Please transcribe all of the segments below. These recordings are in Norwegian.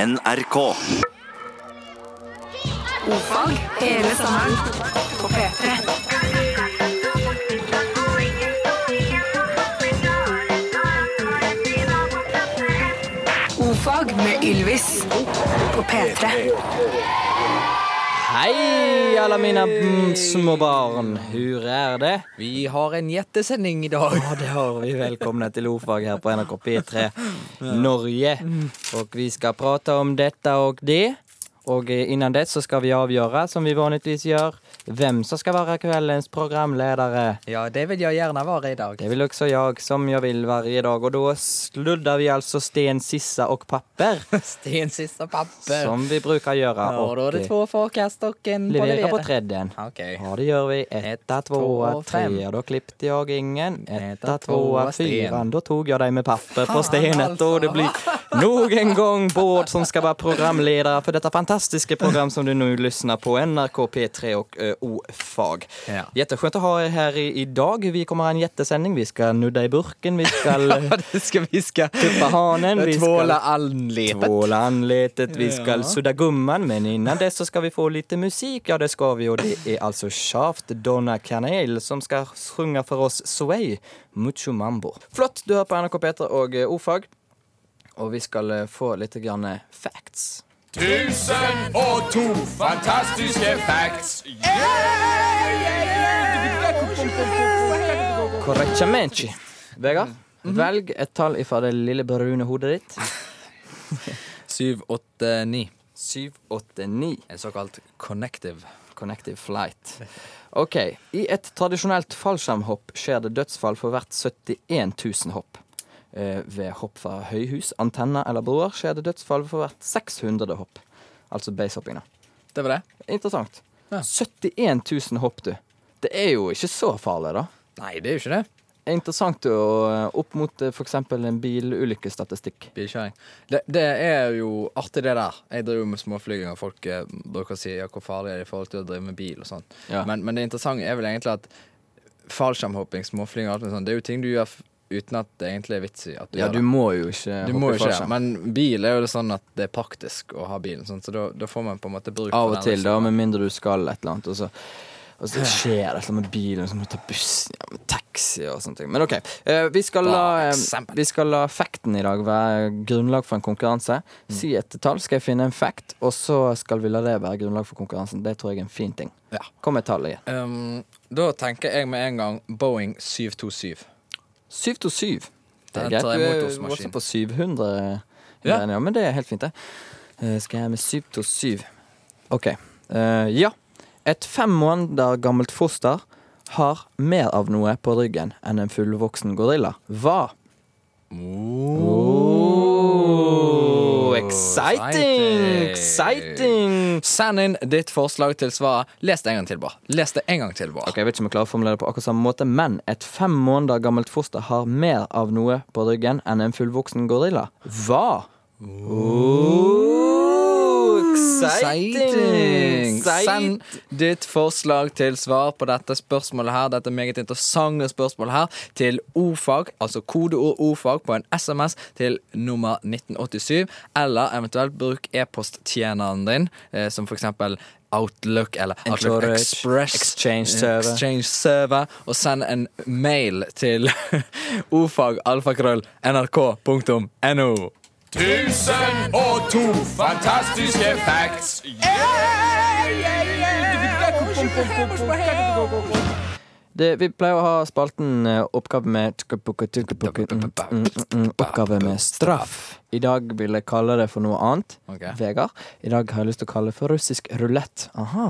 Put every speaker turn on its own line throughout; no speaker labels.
NRK.
Ofag hele sommeren på P3. Ofag med Ylvis på P3.
Hei, alle mine mm, små barn. Hvor er det?
Vi har en gjettesending i dag.
Ja, det har vi. Velkomne til Ofag her på NRK P3 Norge. Og vi skal prate om dette og det. Og eh, innan det så skal vi avgjøre, som vi vanligvis gjør, hvem som skal være kveldens programledere.
Ja, det vil jeg gjerne være i dag.
Det vil også jeg, som jeg vil hver dag. Og da sludder vi altså sten, sissa og papper,
Sten, sist og papper.
som vi bruker gjøre.
Og da er det to forkast og en på
leverer på
levere.
tredjen.
Ok.
Ja, det gjør vi. Etta, tvåa, trea. Da klippte jeg ingen. Etta, tvåa, fyra. Da tok jeg dem med papper på stenet. Og
altså.
det blir nok en gang Bård som skal være programleder for dette fantastiske program som du nå lytter på. NRK P3 og ø, O-fag.
Ja.
Jätteskönt å ha er her i, i dag. Vi kommer ha en jättesending. Vi skal nudda i burken. Vi skal eh,
Ja, det skal vi skal
tuppa hanen. Vi skal
Tvåle anlepet.
tvåla anletet, vi skal
Ja.
sudda gumman, men innan det så skal vi få lite musik. Ja, det ska vi och det är alltså Shaft Donna Canale som ska sjunga för oss Sway Mucho Mambo. Flott, du hör på NRK Peter och eh, Ofag. Och vi ska eh, få lite grann eh, facts.
Tusen og to fantastiske facts.
Correcciamenti. Vegard, velg ett tall ifra det lille brune hodet ditt.
Syv, åtte, ni.
789.
En såkalt connective.
Connective flight. OK. I et tradisjonelt fallskjermhopp skjer det dødsfall for hvert 71 000 hopp. Eh, ved hopp fra høyhus, antenner eller broer skjer det dødsfall for hvert 600 hopp. Altså basehopping, da.
Det var det?
Interessant.
Ja.
71 000 hopp, du. Det er jo ikke så farlig, da.
Nei, det er jo ikke det.
Det er Interessant du, å- eh, opp mot f.eks. en bilulykkestatistikk.
Bilkjøring. Det, det er jo artig, det der. Jeg driver jo med småflyging, og folk eh, bruker å si ja, hvor farlig er det i forhold til å drive med bil og sånn.
Ja.
Men, men det interessante er vel egentlig at fallskjermhopping, småflyging og alt mulig sånt, det er jo ting du gjør f- uten at det egentlig er vits i at du
Ja,
gjør
du
det.
må jo ikke
Du må jo ikke det, men bil er jo det sånn at det er praktisk å ha bilen, sånn, så da, da får man på en måte bruk
Av
for
og
den liksom.
til, da, med mindre du skal et eller annet. Og så, og så skjer det et eller annet med bilen, så må du ta bussen, ja, med taxi og sånne ting. Men OK. eh, Vi skal la,
Bare
eh,
eksempel.
vi skal la facten i dag være grunnlag for en konkurranse.
Mm.
Si et tall, skal jeg finne en fact, og så skal vi la det være grunnlag for konkurransen. Det tror jeg er en fin ting.
Ja.
Kom med tallet igjen.
Um, da tenker jeg med en gang Boeing 727.
727. Det er
Den
greit.
tar jeg
Du
imot
er
hos maskin.
også på 700.
Ja.
Ja. ja, men det er helt fint, det. Eh, Skal jeg med 727? OK. Eh, ja. Et fem måneder gammelt foster har mer av noe på ryggen enn en fullvoksen gorilla. Hva? Oh, exciting! Exciting!
Send inn ditt forslag til svaret. Les det en gang til, bare. Les det en gang til, bare.
Ok, Jeg vet ikke om jeg klarer å formulere det på akkurat samme måte, men et fem måneder gammelt foster har mer av noe på ryggen enn en fullvoksen gorilla. Hva? Oh, exciting!
Exciting! Send ditt forslag til svar på dette spørsmålet her, dette meget interessante spørsmålet her, til ordfag, altså kodeord ordfag, på en SMS til nummer 1987, eller eventuelt bruk e-posttjeneren din, eh, som for eksempel Outlook eller Outlook
Encourage,
Express
Exchange server.
Exchange server og send en mail til ordfagalfakrøll.nrk.no.
Tusen og to fantastiske facts.
Det, vi pleier å ha spalten eh, oppgave med mm, Oppgave med straff. I dag vil jeg kalle det for noe annet.
Ok.
Vegard, i dag har jeg lyst til å kalle det for russisk rulett. Aha.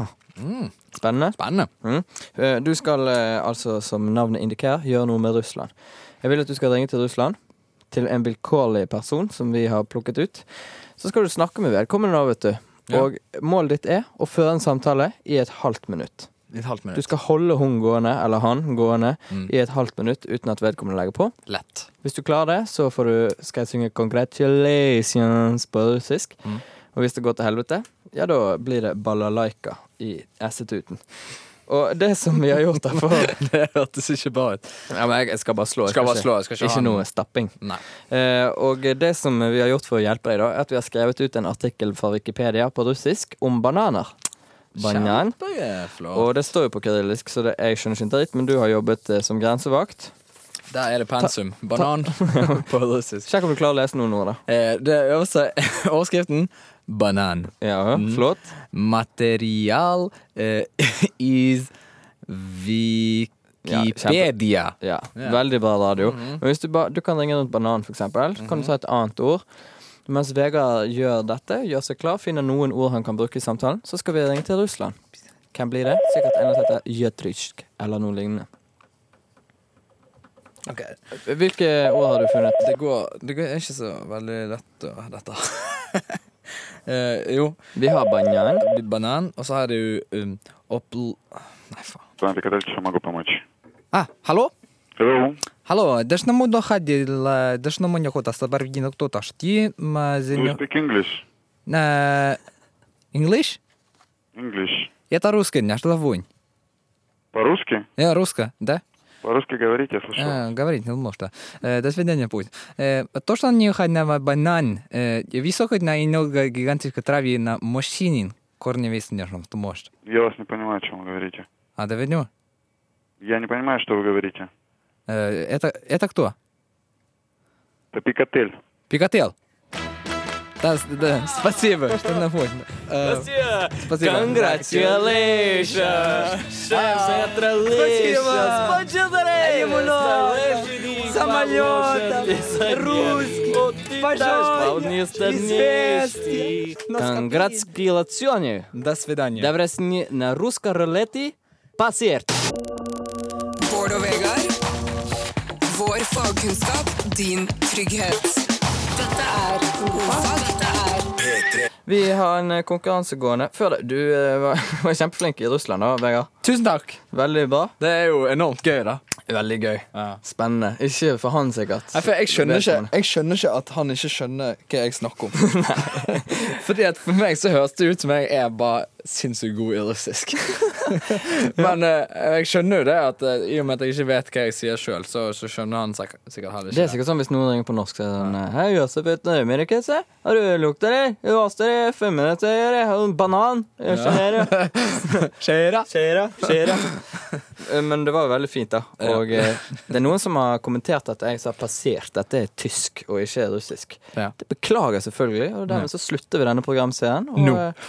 Spennende.
Spennende.
Mm. Eh, Du skal eh, altså, som navnet indikerer, gjøre noe med Russland. Jeg vil at du skal ringe til Russland, til en vilkårlig person som vi har plukket ut. Så skal du snakke med vedkommende, da, vet du.
Ja.
Og målet ditt er å føre en samtale i et halvt minutt.
Et halvt
Du
minutt.
skal holde hun gående, eller han gående, i et halvt minutt uten at vedkommende legger på.
Lett.
Hvis du klarer det, så får du, skal jeg synge 'Congratulations' på russisk. Og hvis det går til helvete, ja, da blir det balalaika i essetuten. Og det som vi har gjort derfor
Det hørtes ikke bra ut.
ja, men Jeg jeg skal bare slå. jeg
Skal bare
ikke-
slå, jeg skal ikke ha
ikke noe stapping.
Nei.
Eh, og det som vi har gjort for å hjelpe deg, da, er at vi har skrevet ut en artikkel fra Wikipedia på russisk om bananer. Banan.
Kjempeflott.
Og det står jo på kyrillisk, så det, jeg skjønner ikke en dritt, men du har jobbet eh, som grensevakt.
Der er det pensum. Banan på russisk.
Sjekk om du klarer å lese noen ord, da.
Eh, Det er også overskriften banan.
Ja, flott.
Material eh, is Wikipedia.
Ja,
Ja.
Veldig bra radio. Men hvis du, ba, du kan ringe rundt banan, for eksempel. Kan du ta et annet ord? Mens Vegard gjør dette, gjør seg klar, finner noen ord han kan bruke i samtalen, så skal vi ringe til Russland. Hvem blir det? Sikkert en som heter Jøtrysk, eller noe lignende.
Ok.
Hvilke ord har du funnet?
Det går, det går er ikke så veldig lett å dette. eh, jo,
Vi har banjan.
banan, og så har du um, opl... Nei, faen.
С вами Кадальевич, чем могу помочь?
Ah, hallo?
Hello.
Hallo, det er noe du har til Det er noe du har altså, til å være videre til å ta sti med
Do you
sin...
speak English?
Nei, Э, English?
English.
Это русский, не что-то вонь.
По-русски?
Я русская, да?
По-русски говорите, я слышал.
Э, говорить не думал, что. Э, до свидания, Путь. Э, то, что они ходят на банан, э, высокой на много гигантской траве на мужчинин, корни весь нежным, то может.
Я вас не понимаю, о чем вы говорите.
А да видно?
Я не понимаю, что вы говорите.
Э, это, это кто?
Это пикатель.
Пикател. Да, с- да, спасибо, что напомнил. Э, спасибо.
Конгратскилационе.
До свидания.
Давресни на русском рулете пассерт.
Bård og Vegard. Vår fagkunnskap, din trygghet. Dette er Ofag. Dette er
Vi har en eh, konkurranse gående. Før det, du eh, var, var kjempeflink i Russland da, Vegard.
Tusen takk.
Veldig bra.
Det er jo enormt gøy, da.
Veldig gøy.
Ja.
Spennende. Ikke for han, sikkert.
Nei, for jeg skjønner,
Det vet
ikke,
man.
jeg skjønner ikke at han ikke skjønner hva jeg snakker om. Fordi at For meg så høres det ut som jeg er bare sinnssykt god i russisk. Men eh, jeg skjønner jo det at eh, i og med at jeg ikke vet hva jeg sier sjøl, så, så skjønner han sikkert, sikkert heller
Det er
ikke.
sikkert sånn hvis noen ringer på norsk, så er det sånn eh, Hei, Josef, vet du hva jeg se? Har du lukt, eller? Du vaste det fem minutter, eller? Har du en banan? Jeg skjønner det.
Skjer det?
Eh, Men det var jo veldig fint, da. Og eh, det er noen som har kommentert at jeg sa passert. Dette er tysk og ikke russisk.
Ja.
Det beklager jeg selvfølgelig, og dermed så slutter vi denne programserien. Og
Nå.
eh,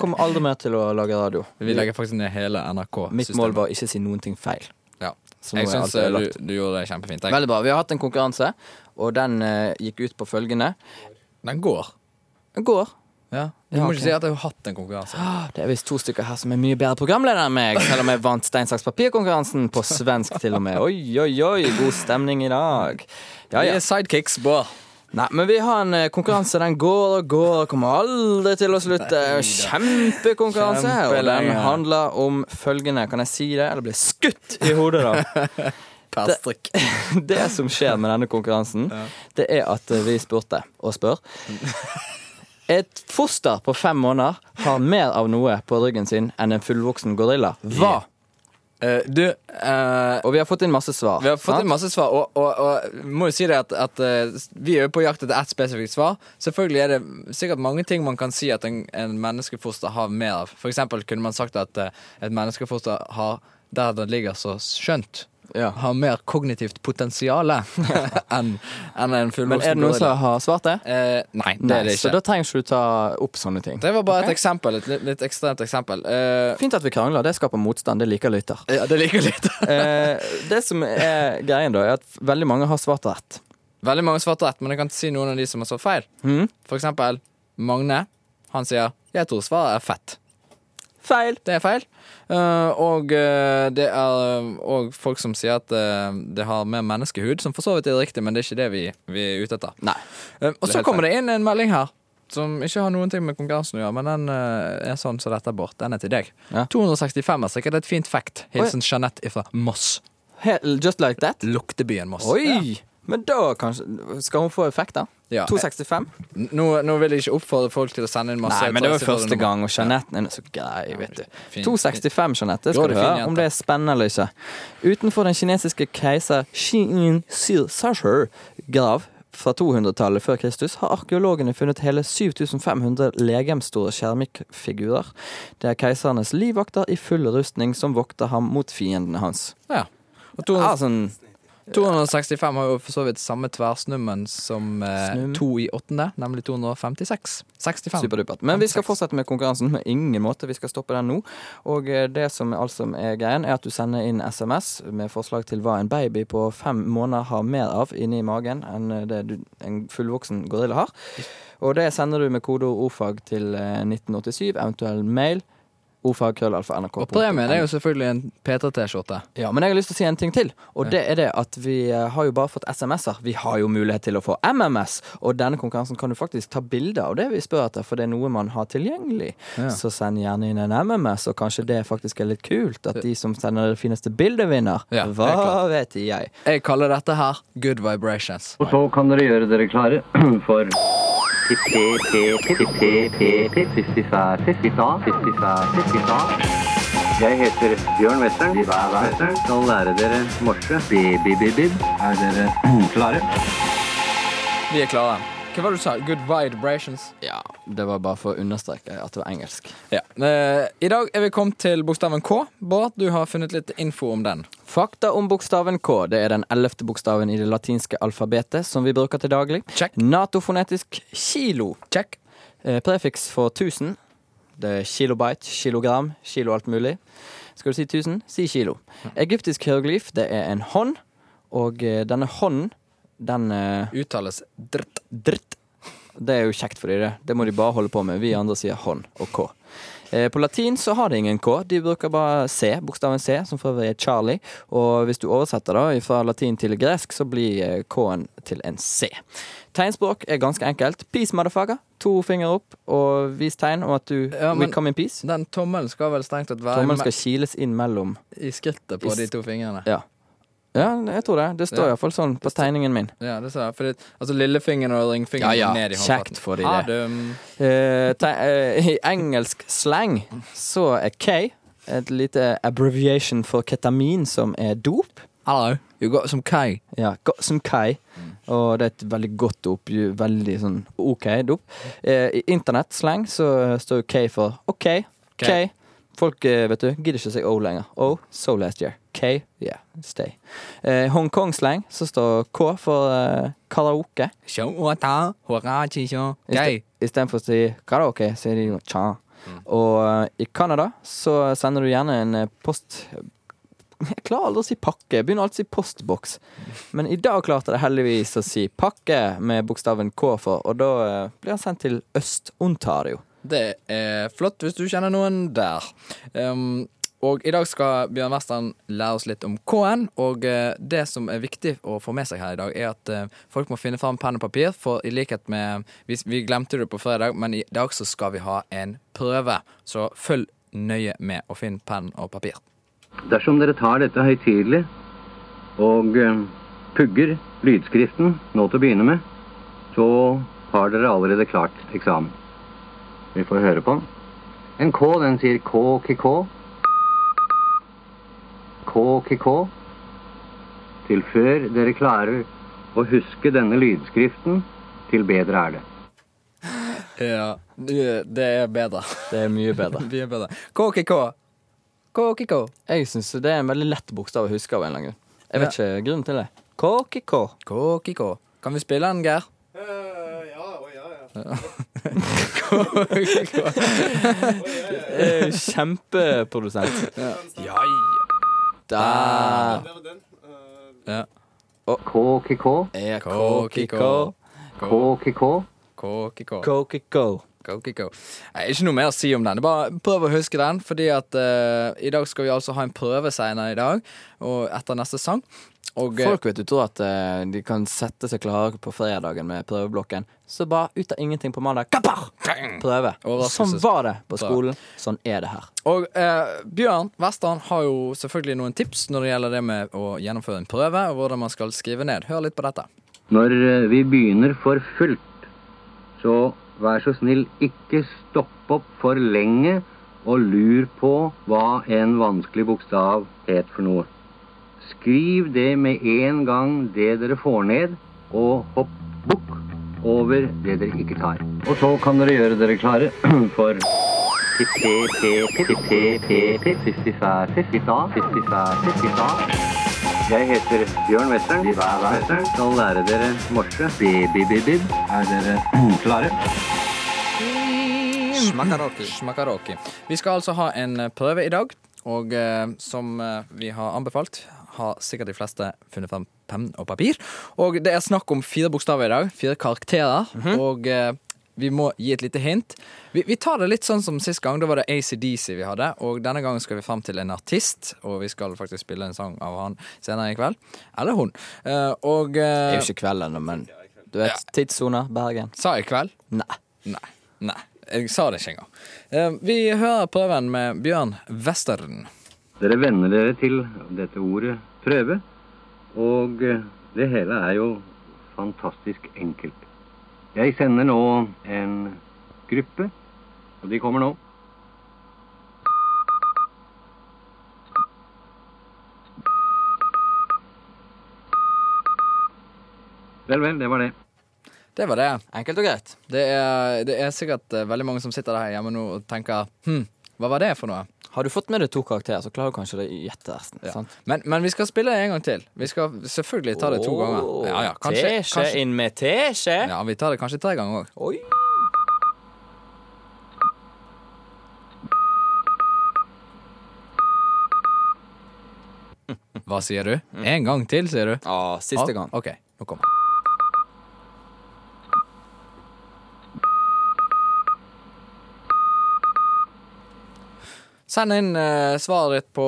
kommer aldri mer til å lage radio.
Vi legger faktisk ned hele NRK-systemet.
Mitt mål var å ikke si noen ting feil.
ja.
Så nå
Jeg
er
syns
alt
eh,
ødelagt.
du, du gjorde det kjempefint. Jeg.
Veldig bra. Vi har hatt en konkurranse, og den eh, gikk ut på følgende.
Den går.
Går.
Ja. Du
Ja,
må
ok.
ikke si at jeg har hatt en konkurranse.
Ah, Det er visst to stykker her som er mye bedre programledere enn meg, selv om jeg vant stein, saks, papir-konkurransen på svensk til og med. Oi, oi, oi, god stemning i dag. Ja,
Vi
ja.
er sidekicks, bra.
Nei, men vi har en eh, konkurranse. Den går og går og kommer aldri til å slutte. Kjempekonkurranse. Og den
Kjempelenge.
handler om følgende. Kan jeg si det, eller bli skutt i hodet, da?
Perstrikk.
det som skjer med denne konkurransen, det er at eh, vi spurte, og spør Et foster på fem måneder har mer av noe på ryggen sin enn en fullvoksen gorilla. Hva?
Eh, du eh,
Og vi har fått inn masse svar.
Vi har fått
sant?
inn masse svar, og, og, og må jo si det at, at eh, vi er jo på jakt etter ett spesifikt svar. Selvfølgelig er det sikkert mange ting man kan si at en, en menneskefoster har mer av. For eksempel kunne man sagt at eh, et menneskefoster har der det ligger så skjønt.
Ja.
Har mer kognitivt potensial enn enn en fullvoksen
Men er det noen
gorilla.
som har svart det?
Eh, Nei, det er det
Så
ikke.
da trenger ikke du ta opp sånne ting.
Det var bare et eksempel. Et litt, litt ekstremt eksempel. Eh,
Fint at vi krangler. Det skaper motstand. Det liker lytter.
ja, det liker jeg litt.
Eh, det som er greien, da, er at veldig mange har svart rett.
Veldig mange svarte rett, men jeg kan si noen av de som har svart feil.
Mm.
For eksempel Magne. Han sier 'Jeg tror svaret er fett'.
Feil.
Det er feil. Eh, og eh, det er eh, og folk som sier at eh, det har mer menneskehud, som for så vidt er riktig, men det er ikke det vi, vi er ute etter.
Nei.
Eh, og
Det er
så
helt
kommer det inn en melding her. Som ikke har noen ting med konkurransen å gjøre, men den eh, er sånn som dette, Bård. Den er til deg.
Ja.
265 er sikkert et fint fact. Hilsen Jeanette fra Moss.
He- Just like that.
Luktebyen Moss.
Oi! Men da kanskje Skal hun få effekt, da?
Ja.
265?
Nå, nå vil jeg ikke oppfordre folk til å sende inn masse
Nei, men det var
adresser for
første
nummer.
gang, og Jeanette er så grei, vet du.
Fin.
265, Jeanette.
Jo,
Skal du
det er fin
høre
jente.
om det er spennende eller ikke. Utenfor den kinesiske keiser Xin Sasher grav fra 200-tallet før Kristus har arkeologene funnet hele 7500 legemstore skjermikkfigurer. Det er keisernes livvakter i full rustning som vokter ham mot fiendene hans.
Ja. Og
Ja,
200,
sånn
265 har jo for så vidt samme tversnummen som eh,
Snum.
2 i åttende, nemlig 256. 65.
Superdupert. Men vi skal fortsette med konkurransen. Med ingen måte. Vi skal stoppe den nå. Og eh, det som er, alt som er greien, er at du sender inn SMS med forslag til hva en baby på fem måneder har mer av inni magen enn eh, det du, en fullvoksen gorilla har. Og det sender du med kodeord ordfag til eh, 1987, eventuell mail. Ordfagkrøllalfa.nrk.
Og premien er jo selvfølgelig en P3T-skjorte.
Ja, men jeg har lyst til å si en ting til. Og det er det at vi eh, har jo bare fått SMS-er. Vi har jo mulighet til å få MMS, og denne konkurransen kan du faktisk ta bilde av det vi spør etter, for det er noe man har tilgjengelig.
Ja.
Så send gjerne inn en MMS, og kanskje det faktisk er litt kult at de som sender det fineste bildet, vinner.
Ja, helt
Hva
klart.
vet jeg?
Jeg kaller dette her good vibrations.
Og så kan dere gjøre dere klare for Jeg heter Bjørn Western. Western. Skal lære dere morse. Bi-bi-bi-bib. Er dere klare?
Vi er klare. Hva var det du sa? Good vibrations?
Ja, det var bare for å understreke at det var engelsk.
Ja. Eh, I dag er vi kommet til bokstaven K. Bård, du har funnet litt info om den.
Fakta om bokstaven K. Det er den ellevte bokstaven i det latinske alfabetet som vi bruker til daglig.
Check.
Natofonetisk kilo.
Check.
Eh, Prefiks for 1000. Det er kilobyte, kilogram, kilo alt mulig. Skal du si 1000, si kilo. Egyptisk hieroglyf, det er en hånd. Og eh, denne hånden, den eh,
Uttales dritt.
dritt. Det er jo kjekt for de det. Det må de bare holde på med. Vi andre sier hånd og K. Eh, På latin så har de ingen K. De bruker bare C, bokstaven C, som for øvrig er Charlie. Og hvis du oversetter da fra latin til gresk, så blir eh, K-en til en C. Tegnspråk er ganske enkelt. Peace, motherfucker. To fingre opp og vis tegn om at du
Ja, men-
will come in peace.
Den tommelen skal vel strengt tatt være
Tommelen skal kiles inn mellom
i skrittet på
i s-
de to fingrene.
Ja. Ja, jeg tror det. Det står
Ja.
iallfall sånn på tegningen min.
Ja, det sa jeg. Fordi, altså lillefingeren og ringfingeren
Ja, ja.
ned i håndfaten.
Kjekt for de
Ha
det. Eh, te eh, I engelsk slang så er K et lite abbreviation for ketamin, som er dop.
Hello, you got some K.
Ja, go- som Kai. Og det er et veldig godt dop. ju- Veldig sånn OK dop. Eh, I internettslang så står jo K for OK. K.
K.
Folk eh, vet du, gidder ikke å si O lenger. O, so last year. K, yeah, stay. Eh, Hongkong-slang så står K for eh, karaoke.
Showata, horachi-sho,
Iste-
gay.
Istedenfor å si karaoke, sier de jo cha.
Mm.
Og eh, i Canada så sender du gjerne en eh, post Jeg klarer aldri å si pakke. Jeg begynner alltid å si postboks. Men i dag klarte jeg heldigvis å si pakke med bokstaven K for, og da eh, blir han sendt til Øst-Ontario.
Det er flott hvis du kjenner noen der. Ehm, og i dag skal Bjørn Western lære oss litt om K-en. Og eh, det som er viktig å få med seg her i dag, er at eh, folk må finne fram penn og papir. For i likhet med Vi, vi glemte det på fredag, men i dag så skal vi ha en prøve. Så følg nøye med og finn penn og papir.
Dersom dere tar dette høytidelig og eh, pugger lydskriften nå til å begynne med, så har dere allerede klart eksamen. Vi får høre på den. En K, den sier K-K-K. K-K-K. Til før dere klarer å huske denne lydskriften, til bedre er det.
Ja, det er bedre.
Det er mye bedre.
Mye bedre. KKK. KKK.
Jeg syns det er en veldig lett bokstav å huske av en eller annen grunn. Jeg vet ikke grunnen til det. KKK.
KKK. Kan vi spille den, Geir?
Eh, Kjempeprodusent. Der.
K-K-K.
Er KKK.
KKK.
K-K-K.
KKK.
KKK.
Kokiko. Nei, Ikke noe mer å si om den. Bare prøv å huske den, fordi at eh, i dag skal vi altså ha en prøve senere i dag, og etter neste sang. Og eh,
Folk vet du tror at eh, de kan sette seg klare på fredagen med prøveblokken. Så bare ut av ingenting på mandag. Kapar! Prøve. Sånn
Overraskelses-
var det på skolen. Sånn er det her.
Og eh, Bjørn Western har jo selvfølgelig noen tips når det gjelder det med å gjennomføre en prøve, og hvordan man skal skrive ned. Hør litt på dette.
Når eh, vi begynner for fullt, så vær så snill ikke stopp opp for lenge og lur på hva en vanskelig bokstav het for noe. Skriv det med en gang det dere får ned, og hopp bukk over det dere ikke tar. Og så kan dere gjøre dere klare for jeg heter Bjørn Western. Western. Skal lære dere morse. Bibibibib. Er dere klare?
Smakaroki. Vi skal altså ha en eh, prøve i dag, og eh, som eh, vi har anbefalt, har sikkert de fleste funnet frem Sånn penn og papir. Og det er snakk om fire bokstaver i dag, fire karakterer,
Mhm.
og eh, vi må gi et lite hint. Vi, vi tar det litt sånn som sist gang. Da var det ACDC vi hadde. Og denne gangen skal vi frem til en artist, og vi skal faktisk spille en sang av han senere i kveld. Eller hun. Eh, og
Det
eh,
er jo ikke kveld ennå, men du vet. Tidssoner. Bergen.
Sa jeg kveld?
Nei.
Nei. Nei. Jeg sa det ikke engang. Eh, Vi hører prøven med Bjørn Western.
Dere venner dere til dette ordet prøve, og eh, det hele er jo fantastisk enkelt. Jeg sender nå en gruppe, og de kommer nå. Vel, vel, det var det.
Det var det.
Enkelt og greit.
Det er, det er sikkert eh, veldig mange som sitter der hjemme nå og tenker Hm, hva var det for noe?
Har du fått med deg to karakterer, så klarer du kanskje det i gjetteversen.
Ja.
sant?
Men, men vi skal spille en gang til. Vi skal selvfølgelig ta det to ganger.
Åh,
Ja, ja, kanskje,
Teskje
kanskje,
inn med teskje.
ja, Vi tar det kanskje tre ganger òg.
Oi.
Hva sier du? En gang til, sier du?
Ja, Mm. siste gang.
OK, nå kommer den. Send inn eh, svaret ditt på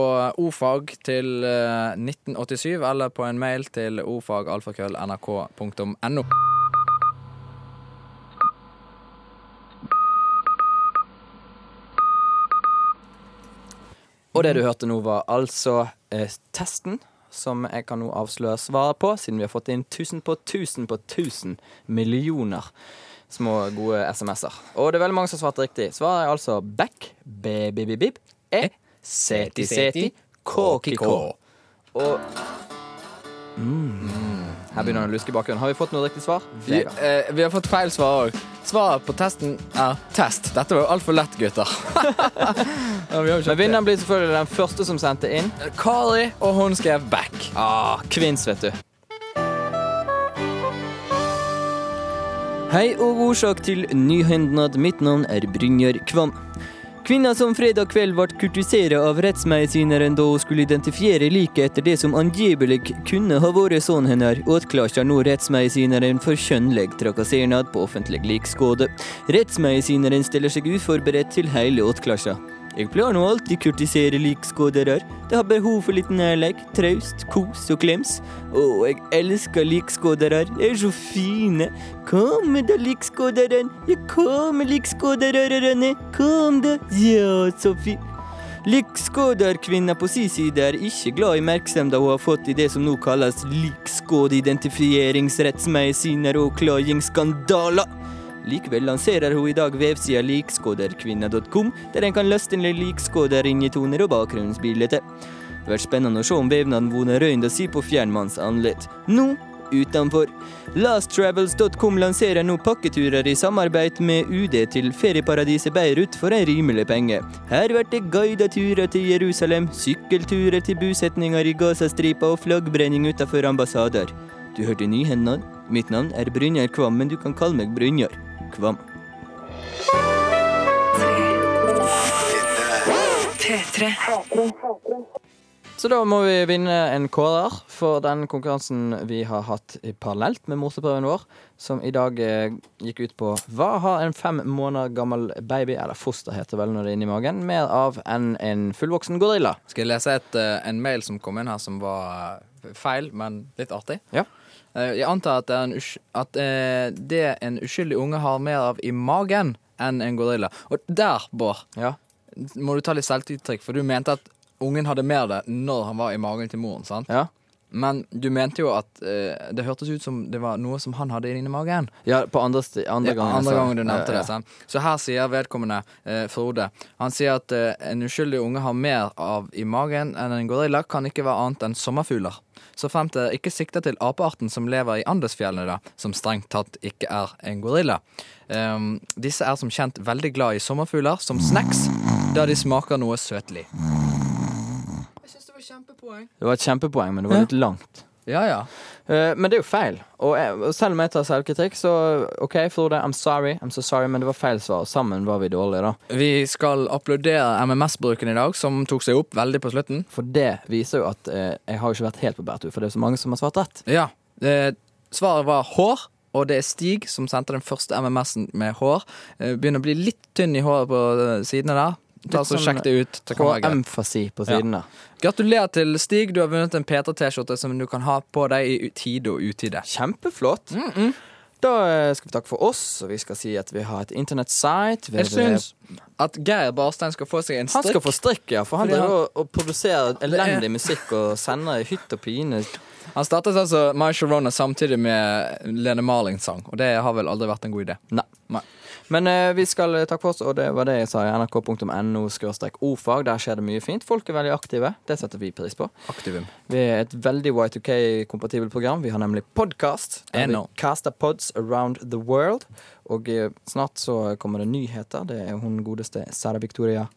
ofag til eh, 1987, eller på en mail til ofagalfakrøll.nrk.no.
Og det du hørte nå, var altså eh, testen. Som jeg kan nå avsløre svaret på, siden vi har fått inn 1000 på 1000 på 1000 millioner små, gode SMS-er. Og det er veldig mange som har svart riktig. Svaret er altså back, bebibibib, e, seti, seti, kåkikå. Og mm, Her begynner det å luske i bakgrunnen. Har vi fått noe riktig svar?
Vi,
Vegard.
eh, vi har fått feil svar òg. Svaret på testen er test. Dette var jo altfor lett, gutter. Ja, vi har jo ikke
Men vinneren blir selvfølgelig den første som sendte inn.
Kari, og hun skrev back.
Ah, kvinns, vet du. Hei og årsak til nyhendnad. Mitt navn er Brynjar Kvam. Kvinna som fredag kveld ble kurtisert av rettsmedisineren da hun skulle identifiere liket etter det som angivelig kunne ha vært sønnen hennes, åtklarer nå rettsmedisineren for kjønnlig trakassering på offentlig likskåde. Rettsmedisineren stiller seg uforberedt til hele åtklaringa. Jeg pleier nå alltid kurtisere likskådere. De har behov for litt nærlek, traust, kos og klems. Å, jeg elsker likskådere. De er så fine. Kom med da, likskåderen. Ja, kom med likskådererne. Kom da. Ja, så fint. Likskåderkvinna på si side er ikke glad i merksomheten hun har fått i det som nå kalles likskådeidentifieringsrettsmedisiner og klagingsskandaler. Likevel lanserer hun i dag vevsida likskåderkvinna.com, der en kan laste ned likskåderringetoner og bakgrunnsbilder. Det blir spennende å se om vevnaden vunner røynda si på fjernmannsanledd. Nå utenfor. Lasttravels.com lanserer nå pakketurer i samarbeid med UD til ferieparadiset Beirut for en rimelig penge. Her blir det guidede turer til Jerusalem, sykkelturer til bosetninger i Gazastripa og flaggbrenning utenfor ambassader. Du hørte nyhendene. Mitt navn er Brynjar Kvam, men du kan kalle meg Brynjar Kvam.
P3.
Så da må vi vinne en kårer for den konkurransen vi har hatt i parallelt med moteprøven vår, som i dag eh, gikk ut på hva har en fem måneder gammel baby, eller foster heter vel når det er inni magen, mer av enn en fullvoksen gorilla?
Skal jeg lese et, eh, en mail som kom inn her som var eh, feil, men litt artig?
Ja.
Eh, Jeg antar at, det, er en usky- at eh, det en uskyldig unge har mer av i magen enn en gorilla. Og der, Bård,
Ja.
må du ta litt selvtiltrykk, for du mente at ungen hadde mer av det når han var i magen til moren. sant?
Ja,
Men du mente jo at eh, det hørtes ut som det var noe som han hadde inni magen.
ja på andre, sti- andre
Ja,
gangen. jeg
andre
sa
gangen du nevnte
Ja,
det. sant? Så her sier vedkommende eh, Frode Han sier at eh, en uskyldig unge har mer av i magen enn en gorilla, kan ikke være annet enn sommerfugler. Så frem til ikke sikter til apearten som lever i Andesfjellene, da, som strengt tatt ikke er en gorilla. Ehm, disse er som kjent veldig glad i sommerfugler som snacks, da de smaker noe søtlig. Jeg syns det var kjempepoeng.
Det var et kjempepoeng, men det var litt langt.
Ja, ja.
Eh, men det er jo feil. Og jeg, og selv om jeg tar selvkritikk, så OK, Frode, I'm sorry, I'm so sorry, men det var feil svar. og Sammen var vi dårlige, da.
Vi skal applaudere MMS-bruken i dag, som tok seg opp veldig på slutten.
For det viser jo at eh, jeg har jo ikke vært helt på bærtur, for det er jo så mange som har svart rett.
Ja. Eh, svaret var hår, og det er Stig som sendte den første MMS-en med hår. Eh, begynner å bli litt tynn i håret på eh, sidene der. Ta
Litt
så
sånn
Sjekk det ut. Det kan
Og
være greit.
emfasi på siden der.
Gratulerer til Stig. Du har vunnet en P3T-skjorte som du kan ha på deg i u- tide og utide.
Kjempeflott.
Mm,
Da eh, skal vi takke for oss, og vi skal si at vi har et internettsite. eh,
Jeg syns at Geir Barstein skal få seg
Han
en
skal
strikk.
få strikk, ja, for han
Fordi han-
driver og- og produserer elendig musikk og sender i hytt og pine.
Han startet altså My Sharona samtidig med Lene Marling-sang, og det har vel aldri vært en god idé.
Nei.
Nei.
Men eh, vi skal eh, takke for oss, og det var det jeg sa i nrk.no-ofag. Der skjer det mye fint. Folk er veldig aktive. Det setter vi pris på.
Aktivum.
Vi er et veldig Y2K-kompatibelt program. Vi har nemlig podkast. Der vi
Ennå.
caster pods around the world. Og eh, snart så kommer det nyheter. Det er hun godeste Sara Victoria.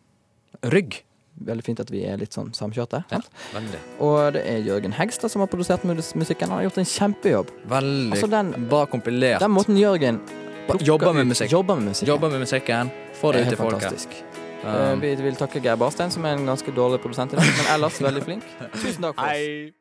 Rygg.
Veldig fint at vi er litt sånn samkjørte. sant?
Veldig.
Og det er Jørgen Hegstad som har produsert mus- musikken. Han har gjort en kjempejobb.
Veldig
Altså, den-
bra kompilert.
Den måten Jørgen
Ba-
plukker
jobber med
ut-
musikk.
jobber med musikken.
Jobber med musikken. Få det
er helt
ut til folket.
fantastisk. Eh,
Um,
Vi vil takke Geir Barstein, som er en ganske dårlig produsent, i dag, men ellers veldig flink. Tusen takk for oss.
Hei.